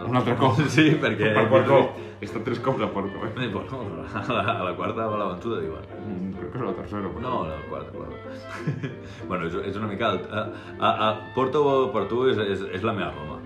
Un altre cop. Sí, perquè... <laughs> Per Porco. He estat tres cops a Porco, <laughs> eh? Eh, Bueno, a la, a la quarta va l'aventura, diuen. Mm, Crec que és la tercera, però... No, no, quarta, quarta. <laughs> bueno, és, és una mica... alt. A, a, a Porto, per tu, és, és, és la meva Roma.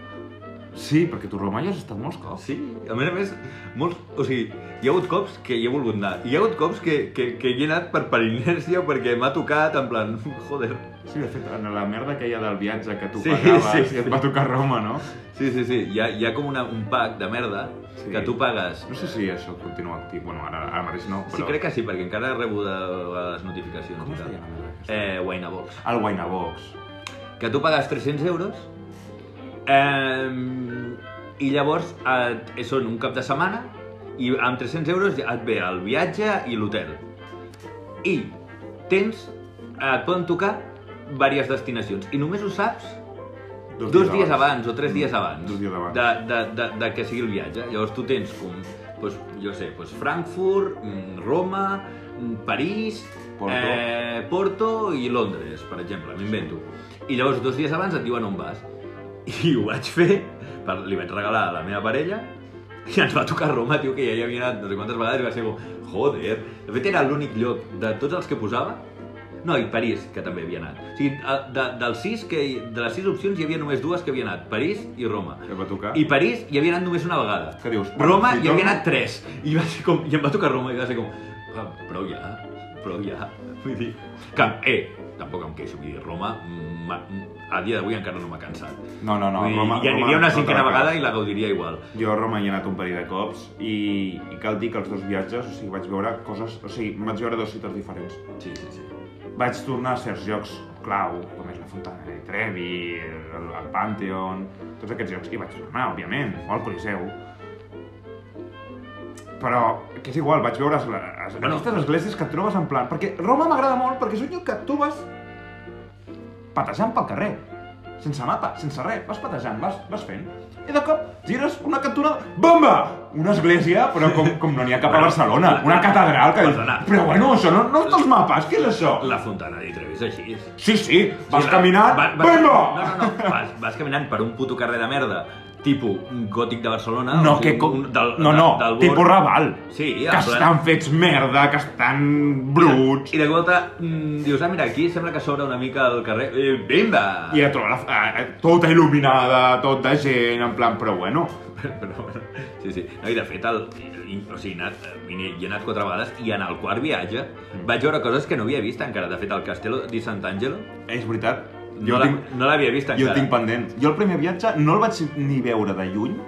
Sí, perquè tu Roma ja has estat molts cops. Sí, a més a més, molts... O sigui, hi ha hagut cops que hi he volgut anar. Hi ha hagut cops que, que, que hi he anat per, per inèrcia o perquè m'ha tocat, en plan, <laughs> joder. Sí, de fet, en la merda aquella del viatge que tu Sí, pagaves sí, i et sí. va tocar Roma, no? Sí, sí, sí, hi ha, hi ha com una, un pack de merda Sí. que tu pagues. No sé si això continua actiu. Bueno, ara, ara mateix no, Sí, però... crec que sí, perquè encara rebo de les notificacions. Com i es tal. deia la merda aquesta? Eh, Winebox. El Winebox. que tu pagues 300 euros eh, i llavors eh, et, són un cap de setmana i amb 300 euros ja et ve el viatge i l'hotel. I tens, eh, et poden tocar diverses destinacions i només ho saps dos, dies, abans. o tres dies abans, Mm. Dos dies abans. De, de, de, de que sigui el viatge. Llavors tu tens com, doncs, jo sé, doncs Frankfurt, mm, Roma, mm, París, Porto. Eh, Porto i Londres, per exemple, m'invento. I llavors dos dies abans et diuen on vas. I ho vaig fer, per, li vaig regalar a la meva parella, <laughs> i ens va tocar Roma, tio, que ja hi havia anat no sé quantes vegades, i va ser com, joder. De fet, era l'únic lloc de tots els que posava, no, i París, que també havia anat. O sigui, a- de, dels sis que, hi- de les sis opcions hi havia només dues que havia anat, París i Roma. Que va tocar. I París hi havia anat només una vegada. Què dius? Roma Bueno, si hi havia torno- anat tres. I, va ser com, I em va tocar Roma i va ser com... "Ah, Prou ja, prou ja. Vull dir... Que, eh, tampoc em queixo, vull dir, Roma m'ha- a dia d'avui encara no m'ha cansat. No, no, no. vull dir, Roma, hi Roma aniria una no cinquena te la vegada cal. i la gaudiria igual. Jo a Roma hi he anat un parell de cops i, i cal dir que els dos viatges, o sigui, vaig veure coses... O sigui, vaig veure dues ciutats diferents. Sí, sí, sí. Vaig tornar a certs llocs clau, com és la Fontana de Trevi, el, el Pantheon, tots aquests llocs. I vaig tornar, òbviament, o al Coliseu. Però, que és igual, vaig veure es, es, Bueno. bueno. aquestes esglésies que et trobes en plan... Perquè Roma m'agrada molt, perquè és un lloc que tu vas patejant pel carrer. Sense mapa, sense res, vas patejant, vas, vas fent. I de cop gires una cantonada... Bomba! Una església, però com, com no n'hi ha cap a Bueno, Barcelona. la- Una catedral que dius... Perdona. Però bueno, això no, no és dels mapes, què és això? La fontana de Trevi és així. Sí, sí, vas Sí, la- caminant, va- vas- venga! No, no, no, vas, vas caminant per un puto carrer de merda, tipus gòtic de Barcelona. o No, sigui, que... co- Ah, un- del, no, del- no, del Born. tipus Raval. Sí, ah, Que en plan- estan fets merda, que estan bruts... I de volta mm, dius, ah, mira, aquí sembla que s'obre una mica el carrer. Eh, vinga! I a trobar la, a- a- tota il·luminada, tot de gent, en plan, però bueno... <laughs> Però, bueno, sí, sí. No, I de fet, el, i- o sigui, he anat, hi he anat quatre vegades i en el quart viatge Mm. vaig veure coses que no havia vist encara. De fet, el Castello di Sant'Angelo És veritat, no, la, tinc, no l'havia vist jo encara. el tinc pendent. Jo el primer viatge no el vaig ni veure de lluny,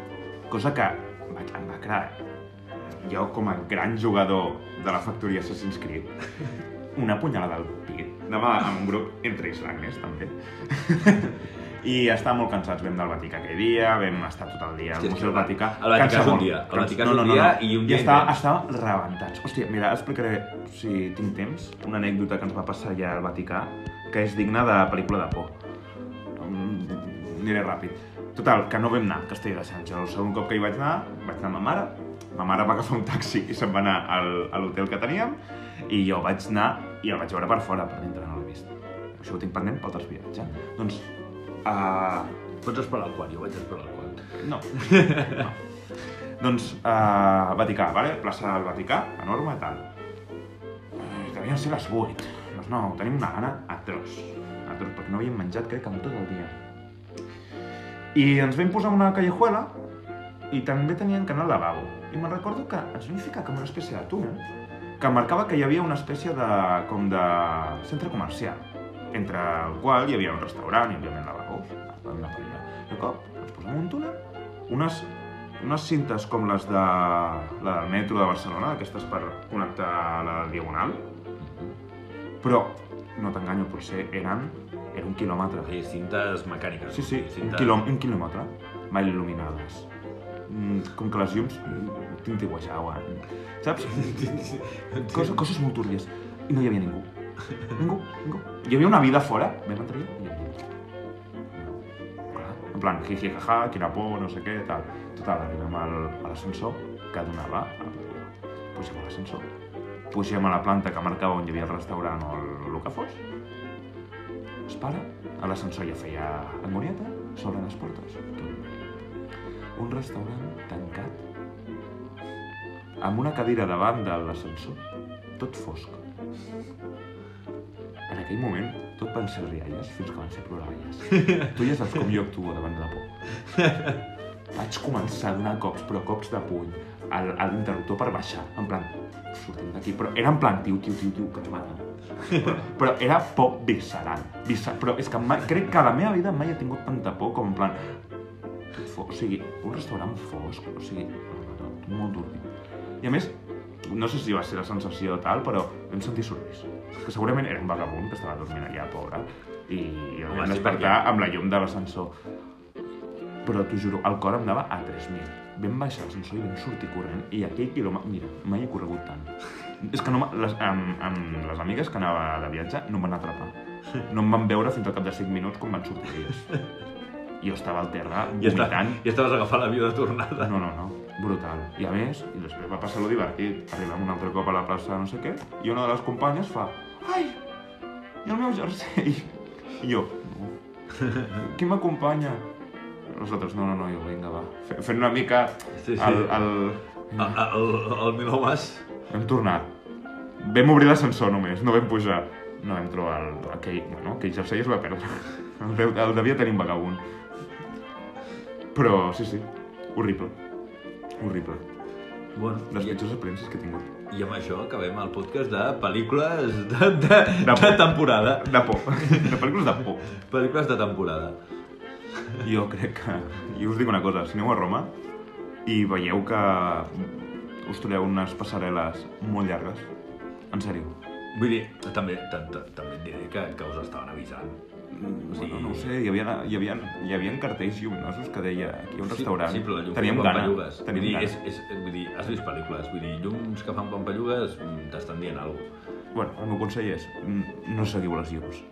cosa que vaig, em va crear. Jo, com a gran jugador de la factoria Assassin's Creed, <laughs> una punyalada al pit. Anava amb un grup entre islàmies, també. <laughs> I estàvem molt cansats, vam del Vaticà aquell dia, vam estar tot el dia Hòstia, al és Museu que del Vaticà. el Vaticà Cansa és un molt. dia, el Cansa- Vaticà és un dia i un dia I està, intens. estàvem rebentats. Hòstia, mira, explicaré, si tinc temps, una anècdota que ens va passar allà al Vaticà, que és digna de pel·lícula de por. Mm, aniré ràpid. Total, que no vam anar a Castell de Sànchez. El segon cop que hi vaig anar, vaig anar amb ma mare. Ma mare va agafar un taxi i se'n va anar al, a l'hotel que teníem i jo vaig anar i el vaig veure per fora, per dintre no l'he vist. Això ho tinc pendent pel tercer viatge. Doncs, uh, Pots esperar el quart, jo vaig esperar el quart. no. no. doncs, uh, Vaticà, vale? plaça del Vaticà, enorme, tal. Eh, Devien ser les 8. Doncs no, tenim una gana atroç. Atroç, perquè no havíem menjat, crec, en tot el dia. I ens vam posar una callejuela i també tenien que anar al lavabo. I me'n recordo que ens vam ficar com una espècie de túnel que marcava que hi havia una espècie de, com de centre comercial, entre el qual hi havia un restaurant i, òbviament, lavabos. Vam anar per allà. De cop, ens posem un túnel, unes, unes cintes com les de la del metro de Barcelona, aquestes per connectar la Diagonal, però, no t'enganyo, potser eren, era un quilòmetre. Sí, cintes mecàniques. Sí, sí, un, cintes... <laughs> quilòm un quilòmetre, mal il·luminades. Mm, com que les llums mm, tintiuejaven, saps? Cosa, coses molt túrbies. I no hi havia ningú. <laughs> Ningú, ningú. Hi havia una vida fora, vam entrar i no hi havia ningú. Clar, En plan, jiji, jaja, quina por, no sé què, tal. Total, arribem al, a l'ascensor que donava a Pugem a l'ascensor. Pugem a la planta que marcava on hi havia el restaurant o el, el que fos. Es para, a l'ascensor ja feia angonieta, s'obren les portes. Un restaurant tancat, amb una cadira davant de l'ascensor, tot fosc. En aquell moment, tot van ser rialles fins que van ser ploralles. Tu ja saps com jo actuo davant de la por. Vaig començar a donar cops, però cops de puny, al, a l'interruptor per baixar, en plan, sortim d'aquí, però era en plan, tio, tio, tio, tio, que te maten però, però era por visceral. Visceral. Però és que mai, crec que a la meva vida mai he tingut tanta por com en plan... fo- O sigui, un restaurant fosc, o sigui, no, no, no, molt dur. I a més, no sé si va ser la sensació tal, però vam sentir sorolls. Que segurament era un vagabund que estava dormint allà, pobre, i el Home, vam sí, despertar amb la llum de l'ascensor. Però t'ho juro, el cor em anava a 3.000. Vam baixar l'ascensor i vam sortir corrent i aquell quilòmetre... Mira, mai he corregut tant. És que no m'ha- les, amb, amb les amigues que anava de viatge no em van atrapar. No em van veure fins al cap de 5 minuts quan van sortir elles. Jo estava al <laughs> terra I, està, vomitant. I estaves agafant l'avió de tornada. No, no, no. Brutal. I a més, i després va passar lo divertit. Arribem un altre cop a la plaça de no sé què i una de les companyes fa Ai, i el meu jersei? I jo, no. <laughs> Qui m'acompanya? Nosaltres, no, no, no, jo, vinga, va. Fe- Fent una mica Sí, sí. el... el... El, el, el Milomas... Hem tornat. Vam obrir l'ascensor només, no vam pujar. No vam trobar el... aquell, bueno, aquell jersei es va perdre. <laughs> El, deu, el devia tenir un vagabund. Però sí, sí, horrible. Horrible. Bueno, Les i, pitjors experiències que he tingut. i amb això acabem el podcast de pel·lícules de, de, de, por. temporada. De por. <laughs> De pel·lícules de por. Pel·lícules de temporada. Jo crec que... Jo us dic una cosa, si aneu a Roma i veieu que us trobeu unes passarel·les molt llargues, en sèrio. Vull dir, també, ta- ta- també et diré que, que us estaven avisant. Mm, Sí. Bueno, no ho sé, hi havia, hi havia, hi havia cartells lluminosos que deia aquí hi ha un restaurant. Sí, sí però la llum Teníem fa gana. pampallugues. Teníem vull dir, gana. és, és, vull dir, has vist pel·lícules, vull dir, llums que fan pampallugues mm, t'estan dient alguna cosa. Bueno, el meu consell és mm, no seguiu les llums.